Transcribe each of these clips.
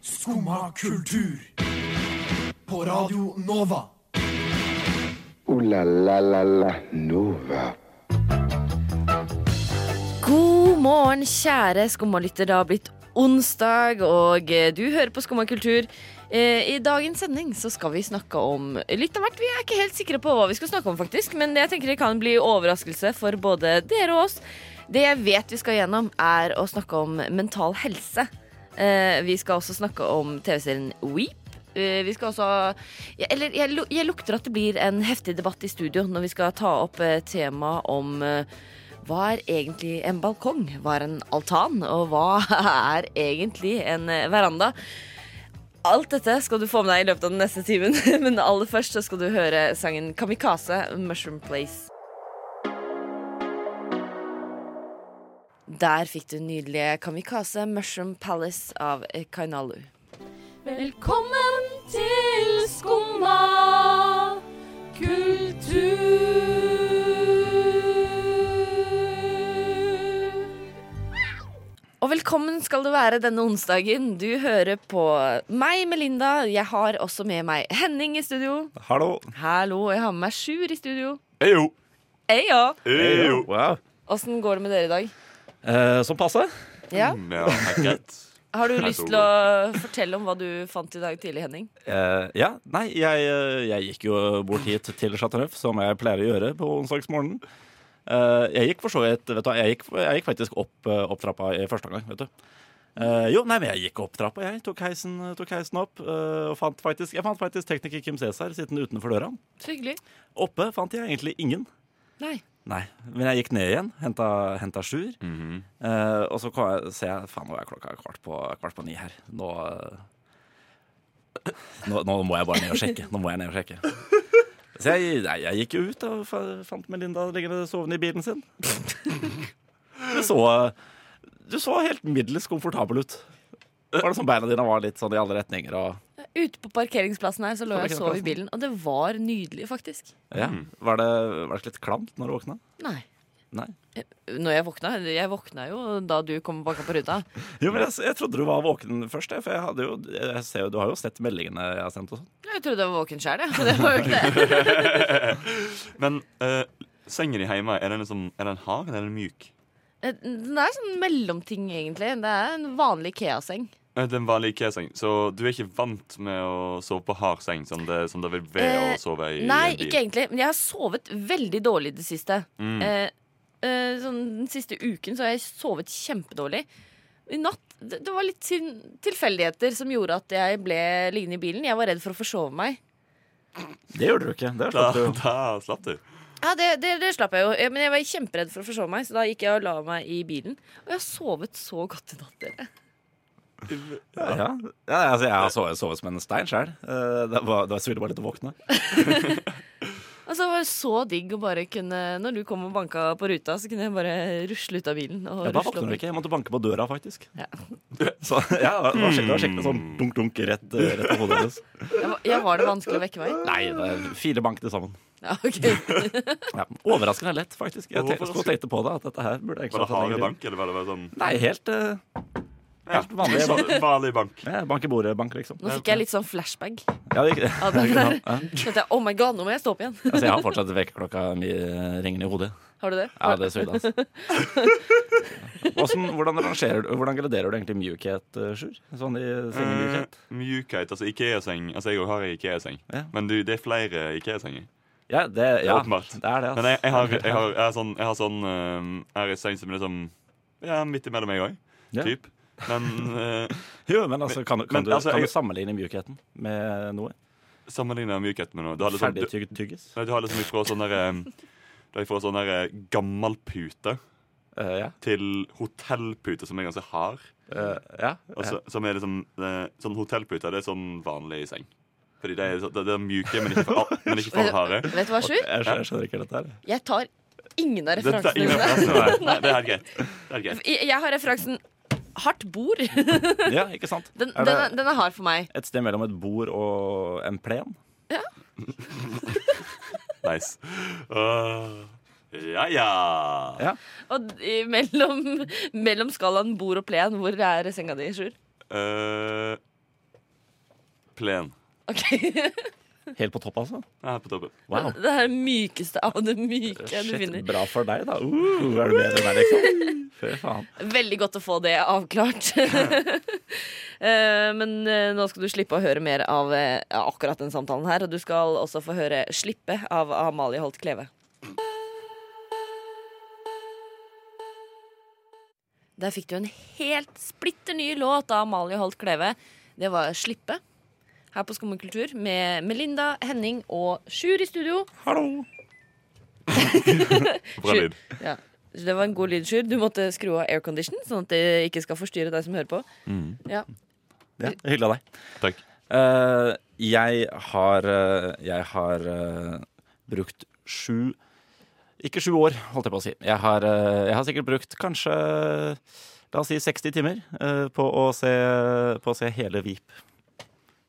Skumma kultur. På Radio Nova. Ooh la la la la Nova. God morgen, kjære skummalytter. Det har blitt onsdag, og eh, du hører på Skumma kultur. Eh, I dagens sending så skal vi snakke om litt av hvert. Vi er ikke helt sikre på hva vi skal snakke om, faktisk, men jeg tenker det kan bli overraskelse for både dere og oss. Det jeg vet vi skal gjennom, er å snakke om mental helse. Eh, Vi skal også snakke om TV-serien Weep. Eh, Vi skal også ja, Eller jeg, lu- jeg lukter at det blir en heftig debatt i studio når vi skal ta opp eh, tema om eh, hva er egentlig en balkong? Hva er en altan? Og hva er egentlig en eh, veranda? Alt dette skal du få med deg i løpet av den neste timen, men aller først så skal du høre sangen Kamikaze, Mushroom Place. Der fikk du nydelige Kamikaze, Mushroom Palace av eh, Kainalu. Velkommen til Skumma kultur. Og velkommen skal du være denne onsdagen. Du hører på meg, Melinda. Jeg har også med meg Henning i studio. Hallo. Hallo, jeg har med meg Sjur i studio. Eyo. Eyo! Eyo. Wow. Åssen går det med dere i dag? Eh, som passe. Ja? Ja, det er greit. Har du lyst så til å fortelle om hva du fant i dag tidlig, Henning? Eh, ja, nei, jeg, eh, jeg gikk jo bort hit til Chateau Neuf, som jeg pleier å gjøre på onsdagsmorgenen. Eh, jeg gikk for så vidt Vet du hva, jeg gikk, jeg gikk faktisk opp, eh, opp trappa i første omgang, vet du. Eh, jo, nei, men jeg gikk opp trappa, jeg. Tok heisen, tok heisen opp. eh, og fant faktisk, jeg fant faktisk tekniker Kim Cæsar sittende utenfor døra. Så hyggelig. Oppe fant jeg egentlig ingen. Nei. Nei, men jeg gikk ned igjen, henta, henta Sjur. Eh, og så kom jeg, ser jeg Faen, nå er klokka kvart på, kvart på ni her. Nå, eh, nå Nå må jeg bare ned og sjekke. Nå må jeg ned og sjekke. Så jeg, nei, jeg gikk jo ut og fa- fant Melinda liggende sovende i bilen sin. Du så, du så helt middels komfortabel ut. Det Var det sånn Beina dine var litt sånn i alle retninger og Ute på parkeringsplassen her så lå jeg og sov i bilen, og det var nydelig, faktisk. ja. var, det, var det ikke litt klamt når du våkna? Nei. Nei. Eh, Når jeg våkna Jeg våkna jo da du kom og banka på ruta. Jo, men jeg, jeg trodde du var våken først, jeg, for jeg hadde jo, jeg ser jo, du har jo sett meldingene jeg har sendt. og sånn. Jeg trodde jeg var våken sjæl, jeg. Men det var jo ikke det. Men eh, sengen din hjemme, er den, liksom, er den hard eller er den myk? Den er sånn mellomting, egentlig. Det er en vanlig Ikea-seng. Eh, Den var like seng, så du er ikke vant med å sove på hard seng, som det, som det vil være Eh, å sove i Nei, en bil? ikke egentlig. Men jeg har sovet veldig dårlig i det siste. Mm. Eh, eh, sånn, den siste uken så har jeg sovet kjempedårlig. I natt det, det var litt til- tilfeldigheter som gjorde at jeg ble liggende i bilen. Jeg var redd for å forsove meg. Det gjorde du ikke. Det Da, slapp du jo. da slapp du. Ja, det, det, det slapp jeg jo. Eh, Men jeg var kjemperedd for å forsove meg, så da gikk jeg og la meg i bilen. Og jeg har sovet så godt i natt, dere. Ja, ja. ja altså, jeg har sovet, sovet som en stein sjøl. Det var, det var så ville bare litt å våkne. Altså, det var så digg å bare kunne Når du kom og banka på ruta, så kunne jeg bare rusle ut av bilen. Og Ja, da rusle våkner opp. du ikke. Jeg måtte banke på døra, faktisk. Ja. Så ja, det var skikkelig, det var skikkelig sånn dunk-dunk rett, eh, rett på hodet hennes. Jeg, var- ja, var det vanskelig å vekke meg? Nei, det er fire bank til sammen. Ja, ok Ja. Overraskende lett, faktisk. Jeg tenkte, Overraskende. skulle tenkte på det, at dette her burde jeg ikke Var det hatt en harde egen- bank, eller var det bare sånn Nei, helt, eh, ja, helt vanlig bank. sånn vanlig bank? Ja, Bank i bordet-bank, liksom. Nå fikk jeg litt sånn flashback. Ja, det gikk. Ja, det der. Tenkte jeg, oh my god, nå må jeg stå opp igjen. Altså, jeg har fortsatt vekkerklokka mi eh, ringende i hodet. Har du det? Ja, det er svidd, altså. Hvordan, hvordan, rangerer du, hvordan graderer du egentlig mjukhet, eh, Sjur? Sånn i sengemjukhet? Eh, mjukhet, altså Ikea-seng. Altså, jeg også har ei Ikea-seng, Ja. men du, det er flere Ikea-senger. Ja, det, ja, Åpenbart. det er det. Men jeg, jeg, har, jeg, har, jeg har sånn, jeg har sånn eh, Jeg har ei seng som er liksom Ja, midt imellom, jeg òg. Ja. Typ. Men eh, Jo, men altså, kan, du- kan, Men, du, altså, kan jeg- du sammenligne mjukheten med noe? Sammenligna mjukhet med noe. Du har liksom, du, Ferdigtygd tyggis? nei, du har liksom ifra sånn derre Du har ifra sånn derre gammel pute Eh, ja. til hotellpute, som er ganske hard. Eh, ja. Og så- Som er liksom eh, Sånn hotellpute, det er sånn vanlig seng. Fordi det er, så- det det er mjuke, men ikke for, men ikke for harde. Vet du hva, Sjur? Jeg, skjønner, jeg skjønner ikke dette her. Jeg tar ingen av Det, det er referansene ingen dine. referanse. Nei, Nei, det er helt greit. Det er helt greit. Jeg jeg har referansen hardt bord. Den, Ja, ikke sant? er den, det er, den er hard for meg. et sted mellom et bord og en plen? Nice. Åh. ja, ja. Ja. Og d- i mellom, mellom skalaen bord og plen, hvor er senga di, Sjur? Eh, Plen. Ok, Helt på topp, altså? Her på toppen. Wow. Det er det mykeste av det myke du Shit, finner. bra for deg, da. Uh, er du bedre enn meg, liksom? Fy faen. Veldig godt å få det avklart. Eh, Men eh, nå skal du slippe å høre mer av eh, akkurat den samtalen her. Og du skal også få høre 'Slippe' av Amalie Holt Kleve. Der fikk du en helt splitter ny låt av Amalie Holt Kleve. Det var 'Slippe' her på Skummakultur med Melinda, Henning og Sjur i studio. Hallo. Bra Sju- lyd. Ja. Det var en god lyd, Sjur. Du måtte skru av aircondition, sånn at det ikke skal forstyrre deg som hører på. Ja. Ja, hylla deg. Takk. Eh, jeg har, eh, jeg har eh, brukt sju Ikke sju år, holdt jeg på å si. Jeg har, eh, jeg har sikkert brukt kanskje La oss si 60 timer eh, på, å se, på å se hele Vip.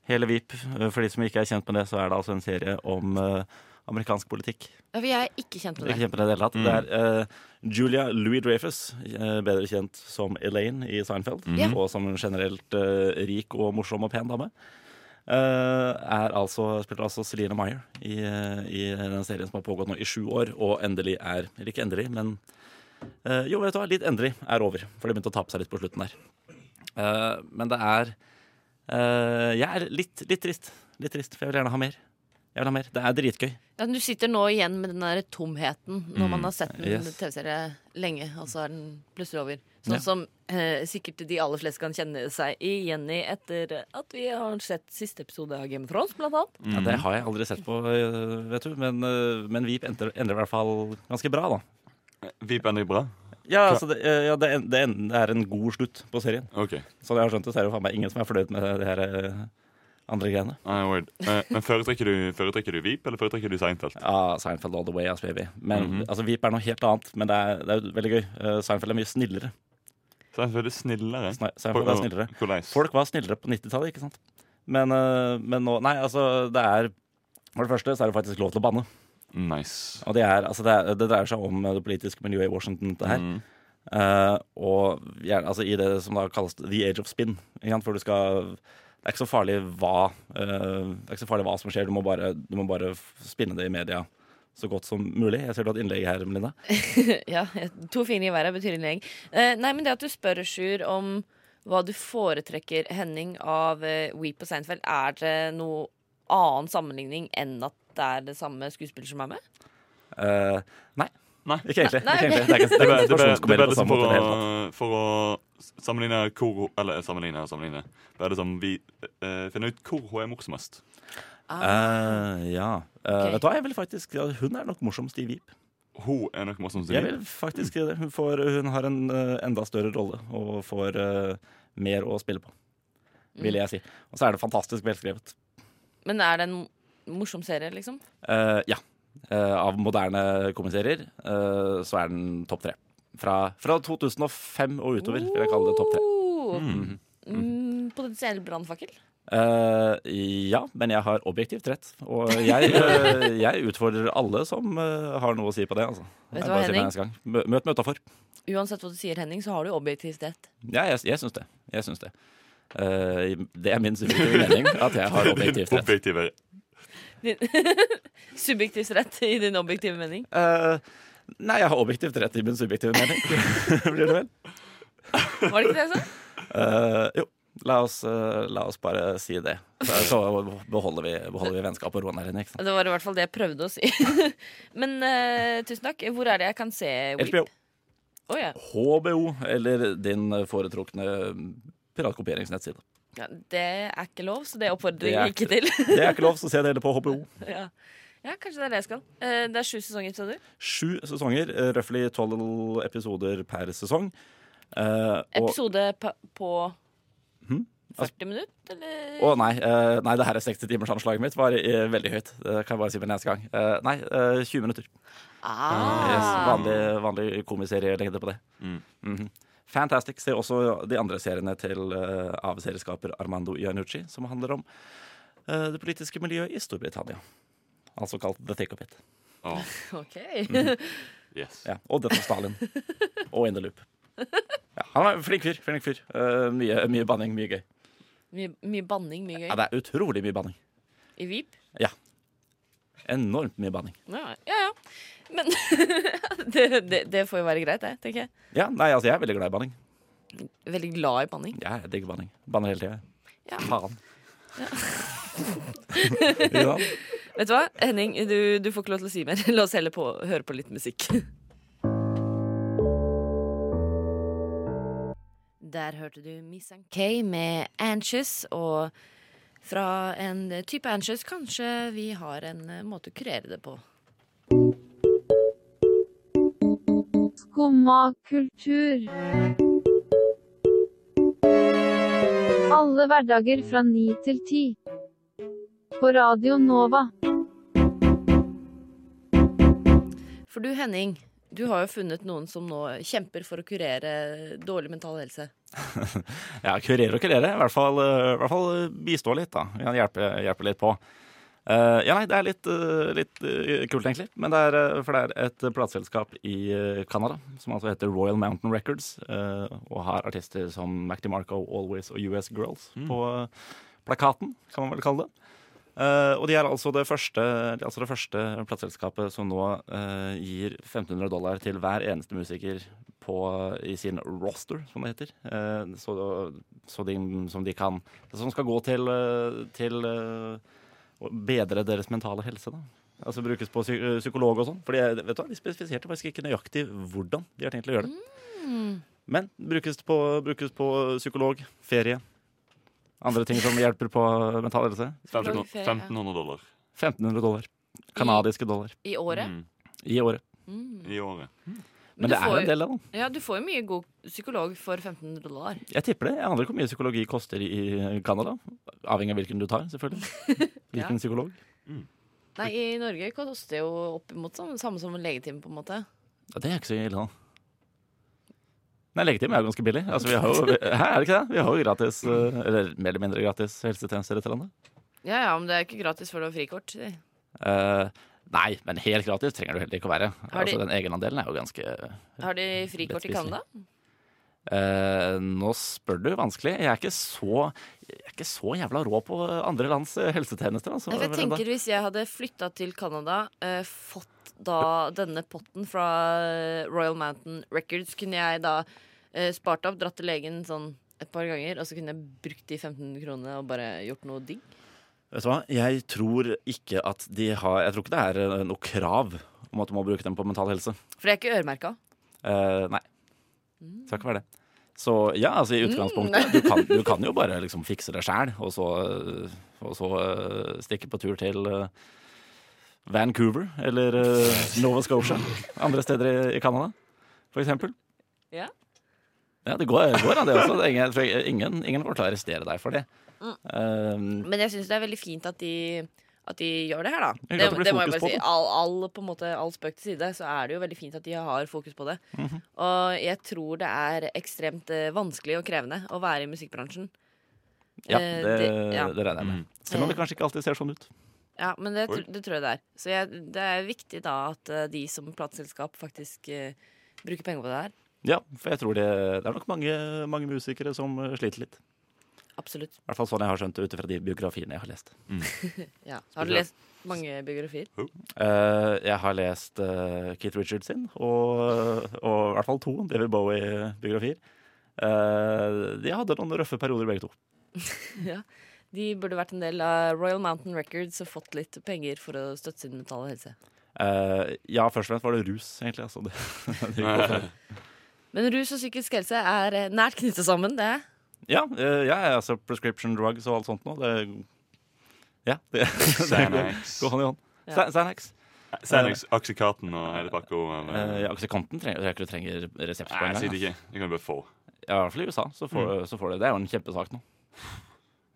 Hele Vip. Eh, For de som ikke er kjent med det, så er det altså en serie om eh, amerikansk politikk. Ja, for jeg er ikke kjent med Ikke det. kjent med det i det hele tatt. Det er eh, Julia Louis Dreyfus, bedre kjent som Elaine i Seinfeld, Ja. og som en generelt eh, rik og morsom og pen dame. eh, er altså, spiller altså Celine Meyer i, eh, i den serien som har pågått nå i sju år, og endelig er Eller ikke endelig, men eh, Jo, vet du hva, litt endelig er over, for de begynte å tape seg litt på slutten der. Eh, men det er eh, Jeg er litt, litt trist. Litt trist, for jeg vil gjerne ha mer. Jeg vil ha mer. Det er dritgøy. Ja, men du sitter nå igjen med den der tomheten når man har sett en Mm. yes. TV-serie lenge, og så er den plutselig over. Sånn Ja. som eh, sikkert de aller fleste kan kjenne seg igjen i etter at vi har sett siste episode av Game of Thrones, blant annet. Ja, det har jeg aldri sett på, øh, vet du. Men, øh, men Veep endte, endte i hvert fall ganske bra, da. Vip ender bra? Ja, altså, det, øh, ja, det, en- det, en- det er en god slutt på serien. OK. Så jeg har skjønt det, så er det jo faen meg ingen som er fornøyd med det her øh, andre greiene. Ah, word. Eh, Men foretrekker du, foretrekker du Vip, eller foretrekker du Seinfeld? Ja, Seinfeld all the way, ass baby. Men altså, Veep er noe helt annet, men det er, det er jo veldig gøy. Eh, Seinfeld er mye snillere. Seinfeld er snillere. Sni- Seinfeld er snillere. Hvordan? Folk var snillere på 90-tallet, ikke sant? Men, øh, men nå Nei, altså, det er For det første så er det faktisk lov til å banne. Nice. Og det, er, altså det, er, det dreier seg om eh, det politiske miljøet i Washington, dette her. Mm. Eh, og gjerne, altså, i det som da kalles the age of spin. Ikke sant? For du skal Det er ikke så farlig hva eh, Det er ikke så farlig hva som skjer, du må bare, du må bare f- spinne det i media så godt som mulig. Jeg ser du har et innlegg her, Melinda. Mm. Ja, To fingre i været betyr innlegg. Eh, nei, men det at du spør, Sjur, om hva du foretrekker, Henning, av eh, Weep og Seinfeld, er det noe annen sammenligning enn at det er det samme skuespiller som er med? Eh, nei. Nei. Ikke egentlig. Nei, ikke ok. egentlig. Det er ikke, det er Det ble, ikke det ble, det situasjonskomedie ble på liksom samme for, måte i det hele tatt. å, for å sammenligne hvor Eller sammenligne og sammenligne. Det er det som vi eh, finner ut hvor hun er morsomst. Eh, ja. Eh, Ah. Ok. Vet du hva, jeg vil faktisk ja, Hun er nok morsomst i Vip. Hun er nok morsomst. i Jeg Veep. vil faktisk si det. Hun, får, hun har en eh, enda større rolle og får eh, mer å spille på, vil jeg si. Og så er det fantastisk velskrevet. Men er det en morsom serie, liksom? Eh, ja. Eh, av moderne komiserier eh, så er den topp tre. Fra, fra 2005 og utover vil jeg kalle det topp tre. Oh. Mm, potensiell brannfakkel? Eh, ja, men jeg har objektivt rett. Og jeg, eh, jeg utfordrer alle som eh, har noe å si på det. Altså. Vet du Jeg hva, bare sier det Henning? neste gang. Mø- Møt meg utafor. Uansett hva du sier, Henning, så har du objektivt rett. Ja, jeg, jeg syns det. Jeg syns det. Eh, det er min subjektive mening at jeg har objektivt rett. Objektive. Subjektivt rett i din objektive mening. Eh, nei, jeg har objektivt rett i min subjektive mening. Blir det vel? Var det ikke det jeg sa? Eh, jo. La oss, eh, la oss bare si det. Så, så beholder vi, beholder vi vennskapet og roen her inne. ikke sant? Det var i hvert fall det jeg prøvde å si. Men eh, tusen takk. Hvor er det jeg kan se Weep? HBO, Å, ja. HBO eller din foretrukne piratkopieringsnettside. Ja, det er ikke lov, så det oppfordrer Det er jeg ikke til. Det er ikke lov, så se det heller på HBO. ja. ja, kanskje det er det jeg skal. Eh, det er sju sesonger. Sju sesonger, eh, røftlig tolv episoder per sesong. Eh, og- Hm? Altså- Episode pa- på 40 minutter, eller? Å nei, eh, nei, det her er 60 timers anslaget mitt var eh, veldig høyt. Det kan jeg bare si med neste gang. Eh, nei, eh, 20 minutter. Yes, Ah. vanlig vanlig komiserielengde på det. Mhm. Fantastic. Se også de andre seriene til eh, av serieskaper Armando Iannucci, som handler om eh, det politiske miljøet i Storbritannia. Altså kalt The Take of It. Å, Ok. yes. Ja. Og Death of Stalin. og In the Loop. Ja, han er en flink fyr. flink fyr. Eh, mye, mye banning, mye gøy. Mye, mye banning, mye Ja, gøy. det er utrolig mye banning. I Vip? Enormt mye banning. Ja, ja. ja. Men det, det, det får jo være greit, det, tenker jeg. Ja, nei, altså, jeg er veldig glad i banning. Veldig glad i banning. Jeg er- digger banning. Banner hele tida. Ja. Faen. Ja. Vet du hva, Henning, du, du får ikke lov til å si mer. La oss heller på, høre på litt musikk. Der hørte du Miss Ann Kay med 'Anxious', og fra en type anxious kanskje vi har en eh, måte å kurere det på. Skumma kultur. Alle hverdager fra 9 til 10. På Radio Nova. For du, Henning, du har jo funnet noen som nå kjemper for å kurere dårlig mental helse. Ja, kurere og kurere. I hvert fall, eh, i hvert fall eh, bistå litt, da. Vi kan hjelpe, hjelpe litt på. Eh, ja, nei, det er litt, eh, litt eh, kult, egentlig. Men det er, eh, for det er et eh, plateselskap i eh, Canada som altså heter Royal Mountain Records, eh, og har artister som Mac DeMarco, Always og US Girls på eh, plakaten, kan man vel kalle det. Eh, og de er altså det første, de er altså det første plateselskapet som nå eh, gir 1500 dollar til hver eneste musiker på, i sin roster, som det heter. Eh, så, så de, som de kan Som skal gå til, eh, til eh, å bedre deres mentale helse, da. Altså brukes på psy psykolog og sånn. For de, vet du hva, de spesifiserte faktisk ikke nøyaktig hvordan de har tenkt å gjøre det. Men brukes på, brukes på psykolog, ferie, andre ting som hjelper på eh, mental helse. 1500 Ferie, ja. 1500 dollar 1500 dollar. Kanadiske dollar. I året. Mm. I året. i året. Men du det er får jo en jo- del, av det. Ja, du får jo mye god psykolog for 1500 dollar. Jeg tipper det. Jeg aner ikke hvor mye psykologi koster i Canada. Avhengig av hvilken du tar, selvfølgelig. Ja. Hvilken psykolog. Nei, i Norge koster det jo oppimot samme, samme som en legetime, på en måte. Ja, det er ikke så ille, da. Nei, legetime er jo ganske billig. Altså, vi har jo, hæ, er det ikke det? Vi har jo gratis, eh, eller mer eller mindre gratis, helsetjenester i dette landet. Ja, ja, men det er ikke gratis før du har frikort. sier de. Eh, nei, men helt gratis trenger du heller ikke å være. Har de- Altså, den egenandelen er jo ganske Har de frikort i Lettspiselig. Canada? Eh, nå spør du vanskelig. Jeg er ikke så, jeg er ikke så jævla rå på andre lands eh, helsetjenester. Altså. Nei, for jeg Men da- tenker Hvis jeg hadde flytta til Canada, eh, fått da denne potten fra eh, Royal Mountain Records, kunne jeg da eh, spart opp, dratt til legen sånn et par ganger, og så kunne jeg brukt de 1500 kronene og bare gjort noe digg? Vet du hva? Jeg tror ikke at de har Jeg tror ikke det er eh, noe krav om at du må bruke dem på mental helse. For det er ikke øremerka. Eh, nei. Det skal ikke være det. Så ja, altså i utgangspunktet du, kan, du kan jo bare liksom fikse det sjæl, og så, eh, og så eh, stikke på tur til eh, Vancouver eller eh, Nova Scotia. Andre steder i, i Canada, for eksempel. Ja. Ja, det går, det går an, det også. Det er Ingen, jeg tror ingen, ingen kommer til å arrestere deg for det. Eh, Men jeg syns det er veldig fint at de, at de gjør det her, da. er Det, glad det blir det må jeg bare fokus på si. det. All, all, på en måte, all spøk til side, så er det jo veldig fint at de har fokus på det. Mhm. Og jeg tror det er ekstremt eh, vanskelig og krevende å være i musikkbransjen. ja, Eh, det, det- ja. Eh. det regner jeg med. Mm. Selv om det kanskje ikke alltid ser sånn ut. Ja, men det, Oi. tr- det tror jeg det er. Så jeg, det er viktig da at eh, de som plateselskap faktisk eh, bruker penger på det her. Ja, for jeg tror det, det er nok mange, mange musikere som eh, sliter litt. Absolutt. I hvert fall sånn jeg har skjønt det ut fra de biografiene jeg har lest. Ja. Har du Spesielt- lest mange biografier? Eh, jeg har lest eh, Keith Richards sin, og, og i hvert fall to David Bowie-biografier. Eh, de hadde noen røffe perioder, begge to. De burde vært en del av Royal Mountain Records og fått litt penger for å støtte sin mentale helse. Eh, ja, først og fremst var det rus, egentlig. Altså, det, det gikk godt for det. Men rus og psykisk helse er eh, nært knyttet sammen, det. ja, eh, ja, altså prescription drugs og alt sånt nå. Det, ja, det, det går, Xanax. går hånd i hånd. Ja. Sa- Xanax. Xanax, Oxycontin og hele pakka. Uh, eller- Aksikanten trenger, jeg tror ikke du trenger resept på Nei, jeg engang. sier det ikke. Det kan du bare få. Ja, i hvert fall i USA. Så får, så får det. det er jo en kjempesak nå.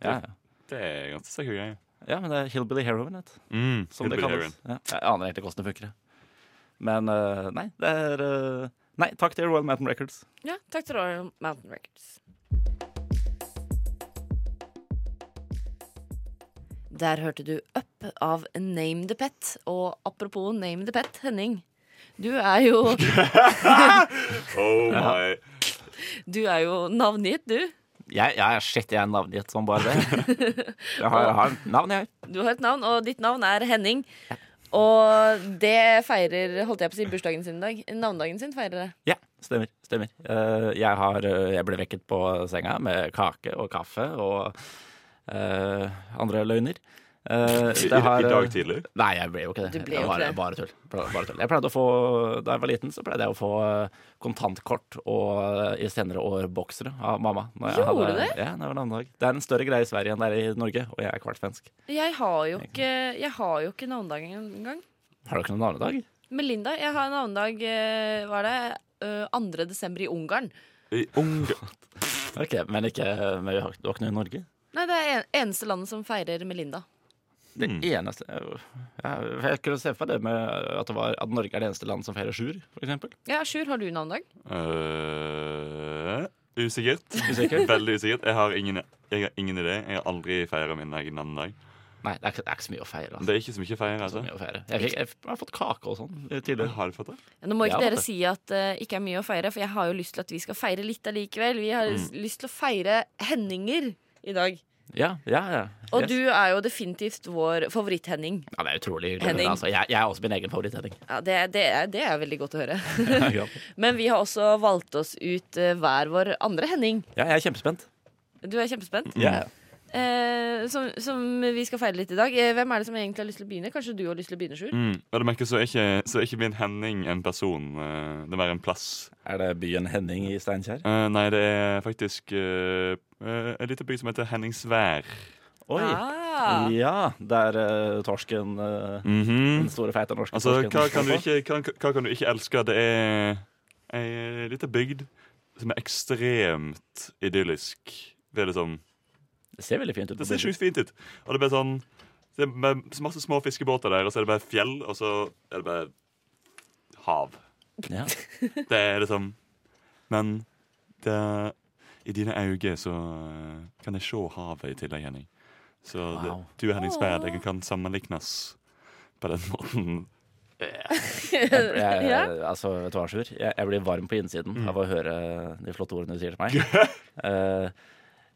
Ja, ja. Det er ganske sikker greie. ja, men det er Hillbilly Heroin, vet, du, Mm, som det Hillbilly kalles. Ja. Jeg aner egentlig hvordan det funker. jeg. Men eh, nei, det er eh, Nei, takk til Royal Mountain Records. Ja, takk til Royal Mountain Records. Der hørte du Up av Name the Pet. Og apropos Name the Pet, Henning. Du er jo, Heroin. Oh my. du er jo navngitt, du. Jeg, jeg, er- shit, jeg er navngitt som bare det. Jeg har, jeg har navn, jeg. Du har et navn, og ditt navn er Henning. Og det feirer holdt jeg på å si, bursdagen sin i dag. Navnedagen sin feirer det. Ja, stemmer. stemmer. Eh, jeg, har, eh, jeg ble vekket på senga med kake og kaffe og eh, andre løgner. Eh, I, det i, har, I dag tidlig. Nei, jeg ble jo ikke det. Du ble det jo var ikke det. bare tull. Bare, bare tull. Jeg pleide å få, Da jeg var liten, så pleide jeg å få eh, kontantkort og eh, i senere år boksere av mamma. når jeg Gjorde hadde- du det? Ja, det var en annen dag. Det er en større greie i Sverige enn det er i Norge, og jeg er kvart svensk. Jeg har jo ikke, jeg har jo ikke navnedag engang. Har du ikke noen navnedag? Melinda, jeg har navnedag eh, hva er det, eh, 2. desember i Ungarn. I Ungarn. Ok, Men ikke men vi har, du har ikke noe i Norge? Nei, det er en, eneste landet som feirer Melinda. Det eneste Jeg, jeg kunne se for meg det med at, det var, at Norge er det eneste landet som feirer sjur, f.eks. Ja, Sjur, har du navnedag? Eh, usikkert. Usikker? Veldig usikkert. Jeg har ingen, jeg har ingen idé. Jeg har aldri feira min egen navnedag. Nei, det er, ikke, det er ikke så mye å feire. Altså. Det er ikke så mye å feire. Det er så Altså. mye å feire. Jeg, fikk, jeg, har fått kake og sånn eh, tidligere. Har du fått det? Ja, Nå må ikke Ja, dere vet du. si at det ikke er mye å feire, for jeg har jo lyst til at vi skal feire litt allikevel. Vi har lyst til å feire Henninger i dag. Ja, ja, ja. Og Yes. du er jo definitivt vår favoritt-Henning. Ja, det er utrolig Henning. hyggelig. Altså. Jeg, jeg er også min egen favoritt, Henning. Ja, det, det, er- det er veldig godt å høre. ja, Men vi har også valgt oss ut eh, hver vår andre Henning. jeg er kjempespent. Du er kjempespent. Ja, Eh, som, som vi skal feire litt i dag. Eh, hvem er det som egentlig har lyst til å begynne? Kanskje du har lyst til å begynne, Sjur? Mm. Og du merker, så er ikke, så er ikke min Henning en person. eh, Det er mer en plass. Er det byen Henning i Steinkjer? Eh, nei, det er faktisk uh, en liten by som heter Henningsvær. Oi! Ah. Ja, der eh, torsken eh, Mhm. Den store, feite norske Altså, torsken hva kan, du står på. ikke, hva, hva kan du ikke elske? Det er ei lita bygd som er ekstremt idyllisk. Det, er liksom, Det ser veldig fint ut. på det ser bildet. sjukt fint ut. Og det er bare sånn Det er bare masse små fiskebåter der, og så er det bare fjell, og så er det bare hav. Ja. Det er liksom Men det, i dine øyne så eh, kan jeg se havet i tillegg, Henning. Så det, Wow. du, Henning Sverd, jeg kan sammenlignes på den måten. Jeg, jeg, Ja. altså, vet du hva, Sjur? Jeg, jeg blir varm på innsiden av å høre de flotte ordene du sier til meg. Eh,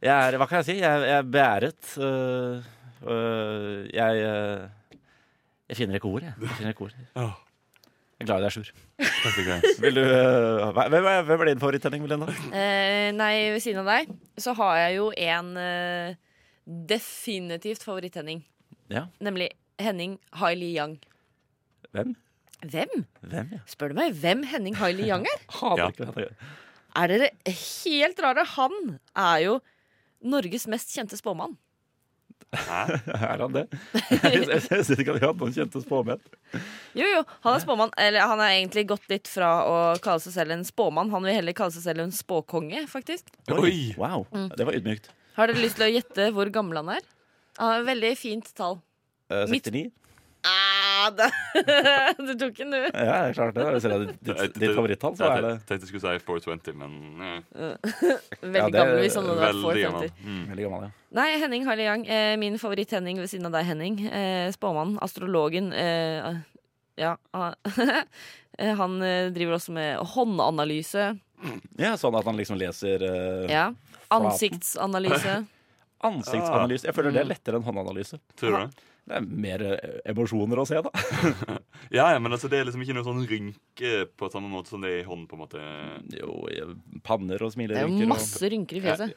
jeg er, hva kan jeg si? Jeg, jeg er beæret. eh, eh, jeg eh, Jeg finner ikke ord, jeg. jeg, finner ikke ord. Åh, jeg er glad i deg, Sjur. takk for greit. Vil du, eh, hva- hvem, er- hvem er din favoritt, Henning Melinda? Eh, nei, ved siden av deg så har jeg jo en eh, definitivt favoritt-Henning. Ja. Nemlig Henning Hailey Yang. Hvem? Hvem? Hvem, ja. Spør du meg hvem Henning Hailey Yang er? Hater Ja. ikke hva han gjør. Er dere helt rare? Han er jo Norges mest kjente spåmann. Er han det? Jeg syns ikke at jeg hadde noen kjente spåmenn. Jo, jo, han er spåmann. Eller han er egentlig gått litt fra å kalle seg selv en spåmann. Han vil heller kalle seg selv en spåkonge, faktisk. Oi. Wow, Mm. det var ydmykt. Har dere lyst til å gjette hvor gammel han er? Han har et veldig fint tall. Eh, Mitt- 69? Ah, da- du tok den, du. Ja, det er klart det. Hvis det er ditt, ditt favorittall, så Ja, er det jeg tenkte jeg skulle si 420, men eh, Veldig det er gammel hvis han hadde vært 450. veldig gammel. Mm. veldig gammel, ja. Nei, Henning Harley Young. Eh, min favoritt-Henning ved siden av deg, Henning. Eh, spåmannen, astrologen. Eh, ja. Han, eh, han eh, driver også med håndanalyse. ja. Sånn at han liksom leser eh, Ja. Ansiktsanalyse. ansiktsanalyse. Jeg føler Mm. det er lettere enn håndanalyse. Tror du det? Det er mer eh, emosjoner å se, da. Ja, ja, men altså, det er liksom ikke noe sånn rynke på samme måte som det er i hånden, på en måte. Jo, eh, panner og Det er smilerynker. jo og- masse rynker i fjeset.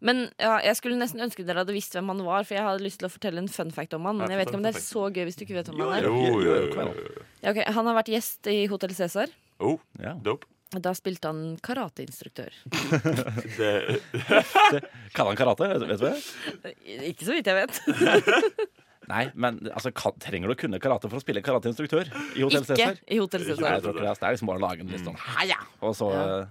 Men ja, jeg skulle nesten ønske dere hadde visst hvem han var, for jeg hadde lyst til å fortelle en fun fact om han. Men jeg vet ikke om det er så gøy hvis du ikke vet hvem han er. Jo, jo, jo. jo, Ja, ok, Han har vært gjest i Hotell Cæsar. Oh, Ja. dope. Da spilte han karateinstruktør. Det, Kan han karate? Vet du det? Ikke så vidt jeg vet. Nei, men altså, kan, trenger du å kunne karate for å spille karateinstruktør i Hotell Ikke Cæsar? i Hotell Nei, Cæsar. jeg tror ikke det. ass. Det er liksom bare å lage en litt sånn heia, og så Ja. eh,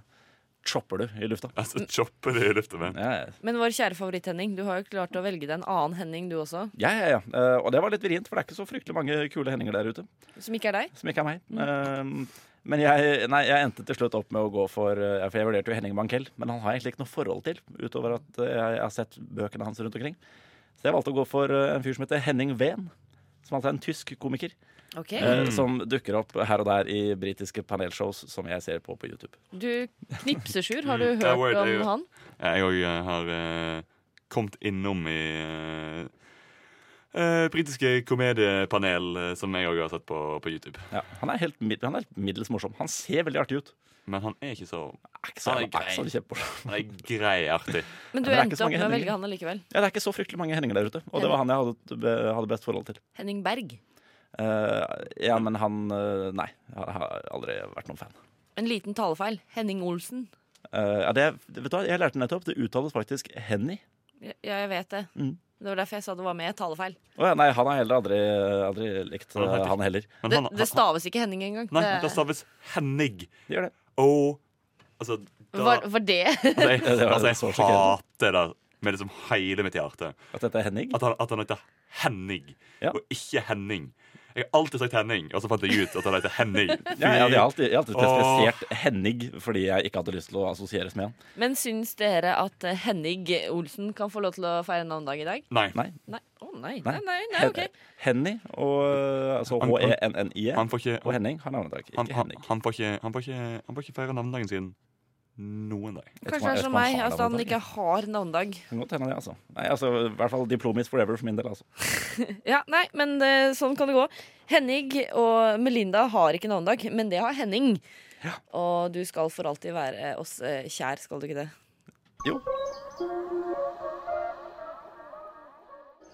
chopper du i lufta. altså, chopper det i lufta, men. Ja, ja. Men vår kjære favoritt-Henning, du har jo klart å velge deg en annen Henning, du også. Ja, ja, ja. Eh, og det var litt vrient, for det er ikke så fryktelig mange kule hendinger der ute. Som ikke er deg. Som ikke er meg. Eh, men jeg, nei, jeg endte til slutt opp med å gå for eh, For jeg vurderte jo Henning Bankell, men han har jeg egentlig ikke noe forhold til, utover at eh, jeg har sett bøkene hans rundt omkring. Så jeg valgte å gå for eh, en fyr som heter Henning Ven. som altså er en tysk komiker, Ok, eh, som dukker opp her og der i britiske panelshows som jeg ser på på YouTube. Du knipser, Sjur. Har du Mm, det er hørt weird, det om er jo- han? Jeg òg har eh, kommet innom i eh, eh, britiske komediepanel eh, som jeg òg har sett på, på YouTube. Ja, han, er helt, mid- han er helt middels morsom. Han ser veldig artig ut. Men han er ikke så Er ikke så, Han er er ikke så grei. kjempemorsom. Han er grei artig. Men du Men det er endte ikke så opp med å mange Henninger. velge han allikevel. Ja, det er ikke så fryktelig mange Henninger der ute, og det var han jeg hadde, hadde best forhold til. Henning Berg. Eh, ja, men han eh, Nei, jeg har aldri vært noen fan. En liten talefeil. Henning Olsen. Eh, ja, det, vet du hva, jeg lærte nettopp. Det uttales faktisk Henny. Ja, jeg vet det. Mm. Det var derfor jeg sa det var med talefeil. Å ja, nei, han har heller aldri, aldri likt Han han, har ikke- han heller. Men Det, han, det staves ikke Henning engang. nei, Det- det staves Henning. De gjør det. Og altså, da, var, var det altså, jeg, Ja, det var altså, så jeg hater det med liksom hele mitt hjerte. At dette er Henning. At han, at han heter Henning, Ja. og ikke Henning. Jeg har alltid sagt Henning, og så fant jeg ut at han heter Henning. Ja, jeg hadde alltid, jeg hadde alltid Åh. spesifisert Henning fordi jeg ikke hadde lyst til å assosieres med han. Men syns dere at eh, Henning Olsen kan få lov til å feire navnedag i dag? Nei. Nei. Nei. Å nei. Nei. Nei, nei, nei, ok. Henny og eh, altså Han- han- H-E-N-N-I-E. Han får Og ikke, Henning har navnedag. Ikke han, han, Henning. han får ikke, han får ikke, han får ikke feire navnedagen sin noen dag. Jeg tror Kanskje han- det jeg er som tror han meg, altså, har at han navnedag. ikke har navnedag. Kan godt hende det, altså. Nei, altså, I hvert fall Diplomis forever for min del, altså. Ja, nei, men eh, sånn kan det gå. Henning og Melinda har ikke navnedag, men det har Henning. Og du skal for alltid være oss eh, kjær, skal du ikke det? Jo.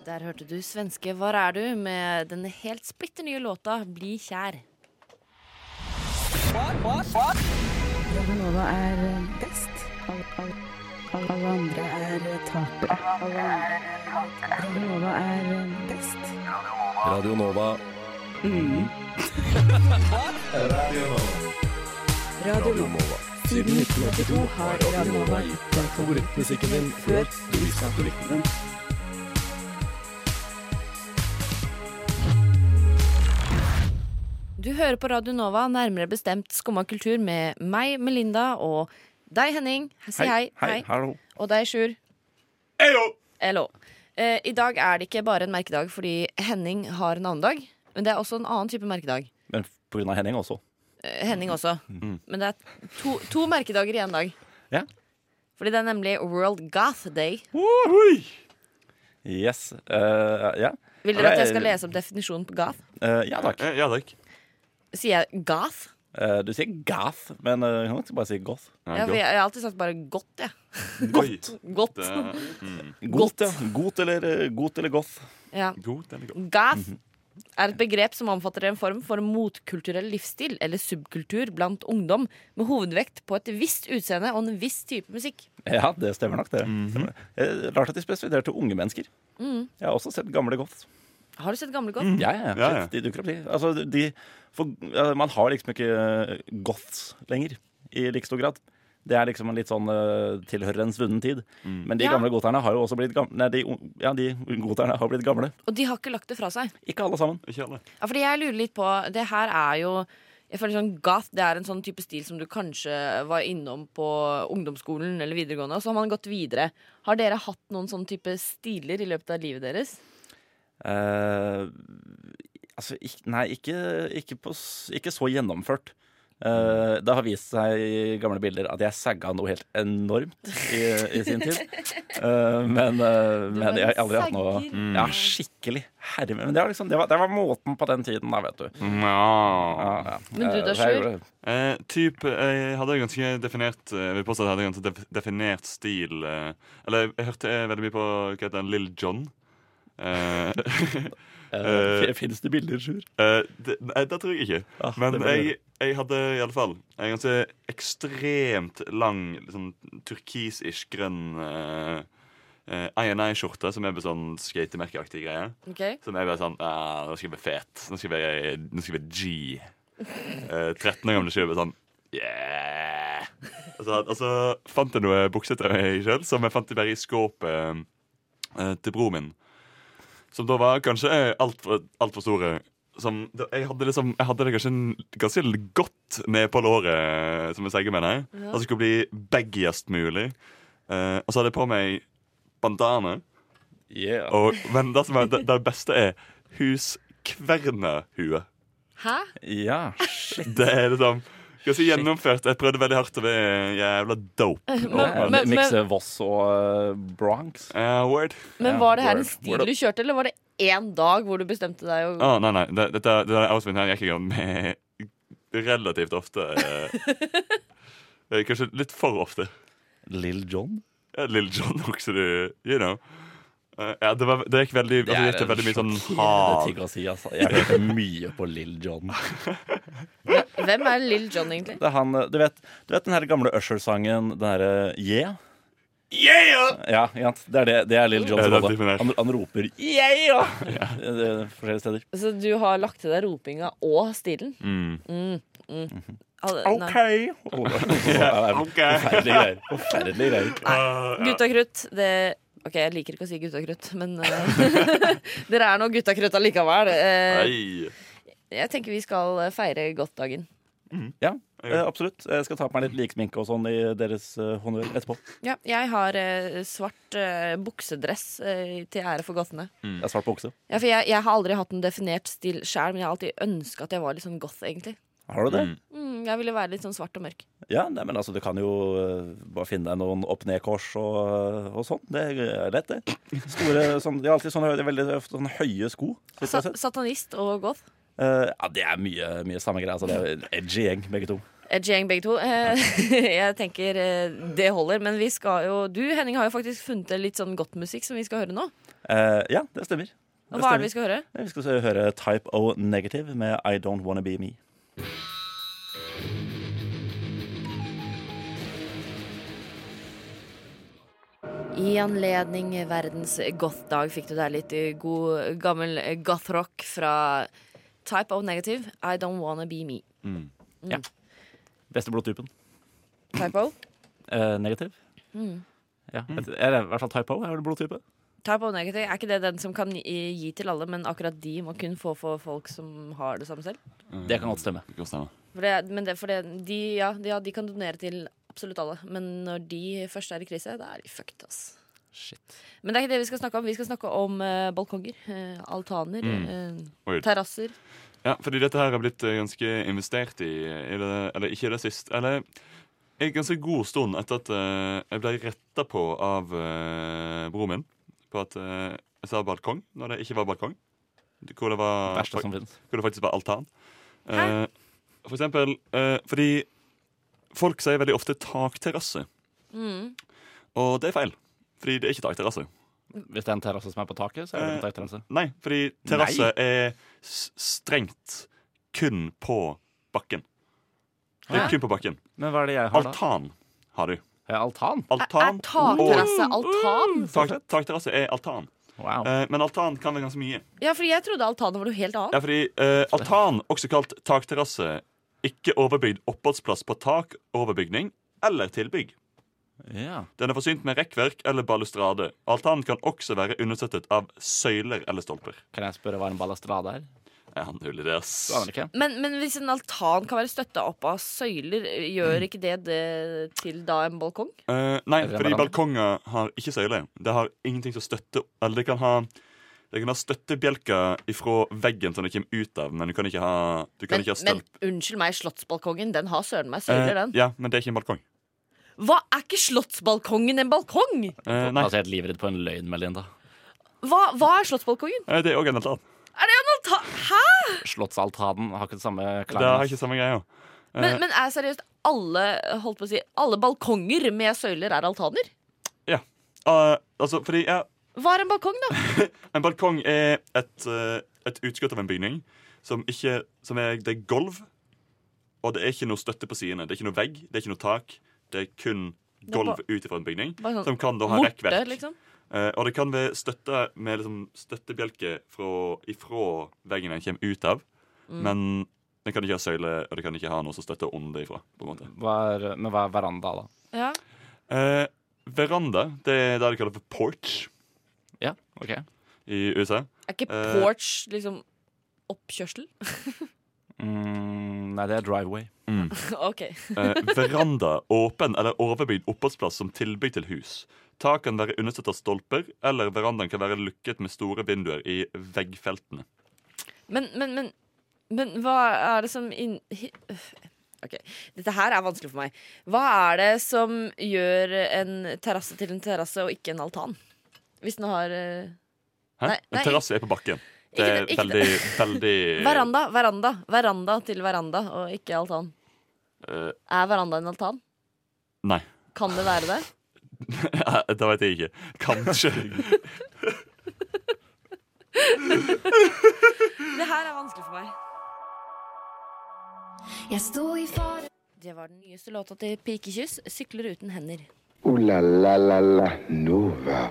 Der hørte du svenske Hvar er du? med den helt splitter nye låta Bli kjær. Nova er best. Alle, alle, alle, alle andre er tapere. Alle andre. Nova er best. Radio Nova. Mm. Radio Nova. Siden 1982 har Radio Nova gitt deg Favorittmusikken din før du visste at du likte den. Du hører på Radio Nova, nærmere bestemt Skumma kultur med meg, Melinda, og deg, Henning. Si hei. Hei. Hallo. Og deg, Sjur. Hello. Eh, I dag er det ikke bare en merkedag fordi Henning har navnedag, men det er også en annen type merkedag. Men på grunn av Henning også. Eh, Henning også. Men det er to, to merkedager i én dag. Mm. Ja. Fordi det er nemlig World Goth Day. Yes. eh, ja. Vil dere at jeg skal lese opp definisjonen på goth? Eh, ja takk. Eh, Ja takk. Sier jeg goth? Eh, du sier gath, men eh, kan ikke bare si goth. Ja, for jeg, jeg har alltid sagt bare godt, jeg. Godt. Eh, Godt. Goth. Goth, ja. Got eller, eh, godt eller goth. Ja. God, den er god. Goth Mhm. er et begrep som omfatter en form for motkulturell livsstil eller subkultur blant ungdom, med hovedvekt på et visst utseende og en viss type musikk. Ja, det stemmer nok, det. Stemmer. Eh, Rart at de spesifiserte unge mennesker. Mm. Jeg har også sett gamle goths. Har du sett Gamle Goth? Ja, ja, Ja, ja. shit, De dukker opp, de. Altså, de for, ja, man har liksom ikke eh, goths lenger i like stor grad. Det er liksom en litt sånn eh, tilhører en svunnen tid. Mm. Men de Ja. gamle goterne har jo også blitt gamle. Nei, de, un- ja, de goterne har blitt gamle. Og de har ikke lagt det fra seg. Ikke alle sammen. Ikke alle. Ja, fordi jeg lurer litt på Det her er jo jeg føler sånn Goth det er en sånn type stil som du kanskje var innom på ungdomsskolen eller videregående, og så har man gått videre. Har dere hatt noen sånn type stiler i løpet av livet deres? Eh, altså, ikk- nei, ikke, ikke, på, s- ikke så gjennomført. Eh, det har vist seg i gamle bilder at jeg sagga noe helt enormt i, i sin tid. Eh, men eh, men jeg har aldri hatt noe Mm. Ja, skikkelig. Herre min. Men det var, liksom, det, var, det var måten på den tiden, da, vet du. Ja. Ja, ja. Men du da, Eh, så jeg Sjur? gjorde- Eh, typ, jeg hadde en ganske definert eh, Jeg vil påstå at jeg hadde en ganske def definert stil eh, Eller jeg, jeg hørte eh, veldig mye på hva heter han, Lill John. Eh, Eh, Finnes det bilder, Sjur? Eh, det, nei, det tror jeg ikke. Ah, Men det blir jeg, jeg hadde i alle fall en ganske ekstremt lang sånn turkis-ish grønn uh, INI-skjorte, som er på sånn skatemerkeaktig greie. Ok? Som er bare sånn ah, Nå skal jeg bli fet. Nå skal jeg bli, nå skal jeg bli G. Eh, 13 år gamle sjøl sånn Yeah! Og så, og så fant jeg noe bukser til meg sjøl, som jeg fant bare i skåpet eh, til broren min. Som da var kanskje altfor alt for store. Som, da- jeg, hadde liksom, jeg hadde det kanskje en- ganske godt ned på låret, eh, som jeg sier med deg. At det skulle bli baggiest mulig. Eh, og så hadde jeg på meg bandane. Yeah. Og, men det, som er, det, det beste er hus kvernehue. Hæ? Ja. Det er liksom Ganske gjennomført. Jeg prøvde veldig hardt, og det er jævla dope. Men, men, men, Mikse Voss og eh, Bronx. Eh, word. men var det her en Word, stil word up. du kjørte, eller var det én dag hvor du bestemte deg? å- Å, nei, nei. Det, dette, det der outfiten her gikk jeg med relativt ofte. eh, eh, Kanskje litt for ofte. Lill John? Ja, Lille John også, du. You know. Eh, ja, det, var, det gikk veldig altså, det gikk til veldig mye sånn Det hard ting å si, altså. Jeg hørte mye på Lill John. Hvem er Lill John, egentlig? Det er han, eh, du, vet, du vet den her gamle Usher-sangen, den herre Yeah? Yeah! Ja, ikke sant? Det er, det, det er Lill John Ja, som det er holder. definert. Han, han roper yeah! Eh, Forskjellige steder. Så du har lagt til deg ropinga og stilen? Mm. Mm, mm. Alle- nei. Og- og- og- OK. Forferdelige greier. Forferdelige greier. Eh, ja. Guttakrutt, det OK, jeg liker ikke å si guttakrutt, men eh, dere er nå guttakrutt allikevel. Eh, Nei. jeg tenker vi skal feire godt-dagen. Eh, Absolutt. Jeg skal ta på meg litt liksminke og sånn i deres eh, honnør etterpå. Ja, jeg har eh, svart eh, buksedress eh, til ære for gothene. Jeg har svart bukse. Ja, for jeg, jeg har aldri hatt en definert stil sjæl, men jeg har alltid ønska at jeg var litt sånn goth, egentlig. Har du det? Mm. Mm, jeg ville være litt sånn svart og mørk. Ja, nei, men altså, Du kan jo eh, bare finne deg noen opp-ned-kors og, og sånn. Det er lett, det. Store, sånn, De har alltid sånne, hø- veldig ofte sånne høye sko. slik jeg Sa har sett. satanist og goth. Eh, ja, Det er mye, mye samme greie. Altså, det er en edgy gjeng, begge to. Edgy gjeng, begge to. Eh, jeg tenker eh, det holder, men vi skal jo Du, Henning, har jo faktisk funnet litt sånn goth-musikk som vi skal høre nå. Eh, ja, det stemmer. Det Og hva er stemmer. det vi skal høre? Eh, Vi skal se- høre Type O Negative med I Don't Wanna Be Me. I anledning verdens goth-dag fikk du deg litt eh, god gammel eh, goth-rock fra Type O Negative, I Don't Wanna Be Me. Beste blodtypen. Type O? Eh, negativ. Mm. Ja, vet- Eller i hvert fall typo. Er det blodtype? Type O Negative, er ikke det den som kan gi gi til alle, men akkurat de må kun få for folk som har det samme selv? Det kan godt stemme. Det kan stemme. For det, men det, for det, de, ja, de, ja, de kan donere til absolutt alle, men når de først er i krise, da er de fucked, ass. Men det er ikke det vi skal snakke om. Vi skal snakke om eh, balkonger, eh, altaner, eh, Weird. terrasser. Ja, fordi dette her har blitt eh, ganske investert i, i det, eller ikke i det sist, eller en ganske god stund etter at eh, jeg ble retta på av eh, broren min på at eh, jeg sa balkong når det ikke var balkong. Hvor det, var, Verste som finnes. hvor det faktisk var altan. Eh, for eksempel eh, fordi folk sier veldig ofte takterrasse, Mm. og det er feil. Fordi det er ikke takterrasse. Hvis det er en terrasse som er på taket, så er det en takterrasse. Nei, fordi terrasse er s- strengt kun på bakken. Det er Hæ? kun på bakken. Eh, Men hva er det jeg har, da? Altan har du. Ja, altan? Er Altan og takterrasse altan? tak, takterrasse er altan. Wow. Eh, men altan kan være ganske mye. Ja, fordi jeg trodde altaner var noe helt annet. Ja, fordi eh, altan, også kalt takterrasse, ikke overbygd oppholdsplass på tak, overbygning eller tilbygg. Ja. Den er forsynt med rekkverk eller balustrade. Altan kan også være understøttet av søyler eller stolper. Kan jeg spørre hva en balustrade er? Jeg har null idé, ass. Du aner ikke? Men, men hvis en altan kan være støtta opp av søyler, gjør ikke det det til da en balkong? Eh, nei, Eller en fordi veranda. balkonger har ikke søyler. Det har ingenting som støtte Eller det kan ha det kan ha støttebjelker ifra veggen som det kommer ut av, men du kan ikke ha, du kan Men, ikke ha men stolp. unnskyld meg, Slottsbalkongen den har søren meg søyler, Eh, den. Ja, men det er ikke en balkong. Hva er ikke Slottsbalkongen en balkong? Eh, nei, Altså, jeg er helt livredd på en løgn, Melinda. Hva, hva er Slottsbalkongen? eh, det er òg en altan. Alta Hæ? Slottsaltanen har ikke det samme Det har klang. ikke samme greia. Eh, Men, men er seriøst alle holdt på å si, alle balkonger med søyler er altaner? eh, altså, fordi ja, Hva er en balkong, da? en balkong er et, eh, et utskudd av en bygning som ikke Som er Det er gulv, og det er ikke noe støtte på sidene. Det er ikke noe vegg, det er ikke noe tak. Det er kun er ba- gulv ut ifra en bygning, Bare sånn som kan da ha Morte, rekkverk. liksom? Eh, og det kan være støtte med liksom, støttebjelke fra, ifra veggen den kommer ut av. Mm. Men den kan ikke ha søyle, og det kan ikke ha noe som støtter ånde ifra. på en måte. Hva er, men hva er veranda, da? Ja. Eh, veranda det er det de kaller for porch Ja, ok. i USA. Er ikke Eh. porch liksom oppkjørsel? Mm, nei, det er driveway. OK. Eh, veranda, åpen eller overbygd oppholdsplass som tilbygg til hus. Tak kan være understøttet av stolper, eller verandaen kan være lukket med store vinduer i veggfeltene. Men, men, men, men hva er det som inn... hi- Øff. Ok, Dette her er vanskelig for meg. Hva er det som gjør en terrasse til en terrasse og ikke en altan? Hvis den har eh, Hæ? Nei, nei, en terrasse er på bakken. Det ikke er det- ikke veldig, veldig veranda, veranda, veranda til veranda og ikke altan. Eh, Er veranda en altan? Nei. Kan det være det? det vet jeg ikke. Kanskje. Det her er vanskelig for meg. Jeg sto i fare Det var den nyeste låta til Pikekyss, 'Sykler uten hender'. Ooh la la la la Nova.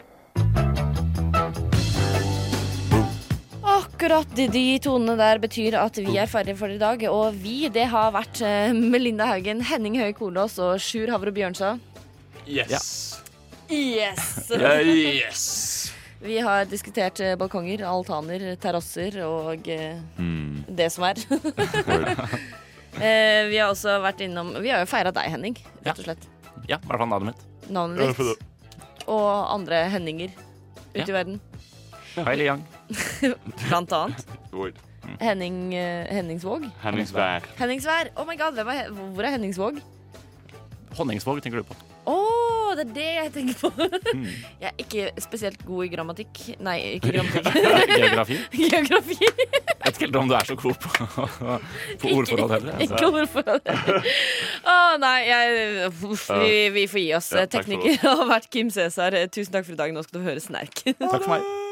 Akkurat de, de tonene der betyr at vi er ferdige for i dag. Og vi, det har vært eh, Melinda Haugen, Henning Høie Kornås og Sjur Havre Bjørnstad. Yes. Yes! Eh, yes. Vi har diskutert eh, balkonger, altaner, terrasser og eh, Mm. det som er. Eh, vi har også vært innom Vi har jo feira deg, Henning, rett og slett. Ja, i hvert fall navnet mitt. Navnet Ja, for det- ditt. Og andre Henninger ute i Ja. verden. Hailey Yang. Blant annet Oi. Henning, eh, Henningsvåg. Henningsvær. Henningsvær. Oh my god, hvem er, He- hvor er Henningsvåg? Honningsvåg tenker du på. Å, det er det jeg tenker på. Hmm. Jeg er ikke spesielt god i grammatikk. Nei, ikke grammatikk. Geografi. Geografi. Jeg vet ikke helt om du er så god på, på ordforhold heller. Ikke altså. ordforråd. Å nei, jeg, uff, vi, vi får gi oss. Ja, takk for Tekniker har vært Kim Cæsar. Tusen takk for i dag. Nå skal du høre snerk. Altså. Takk for meg.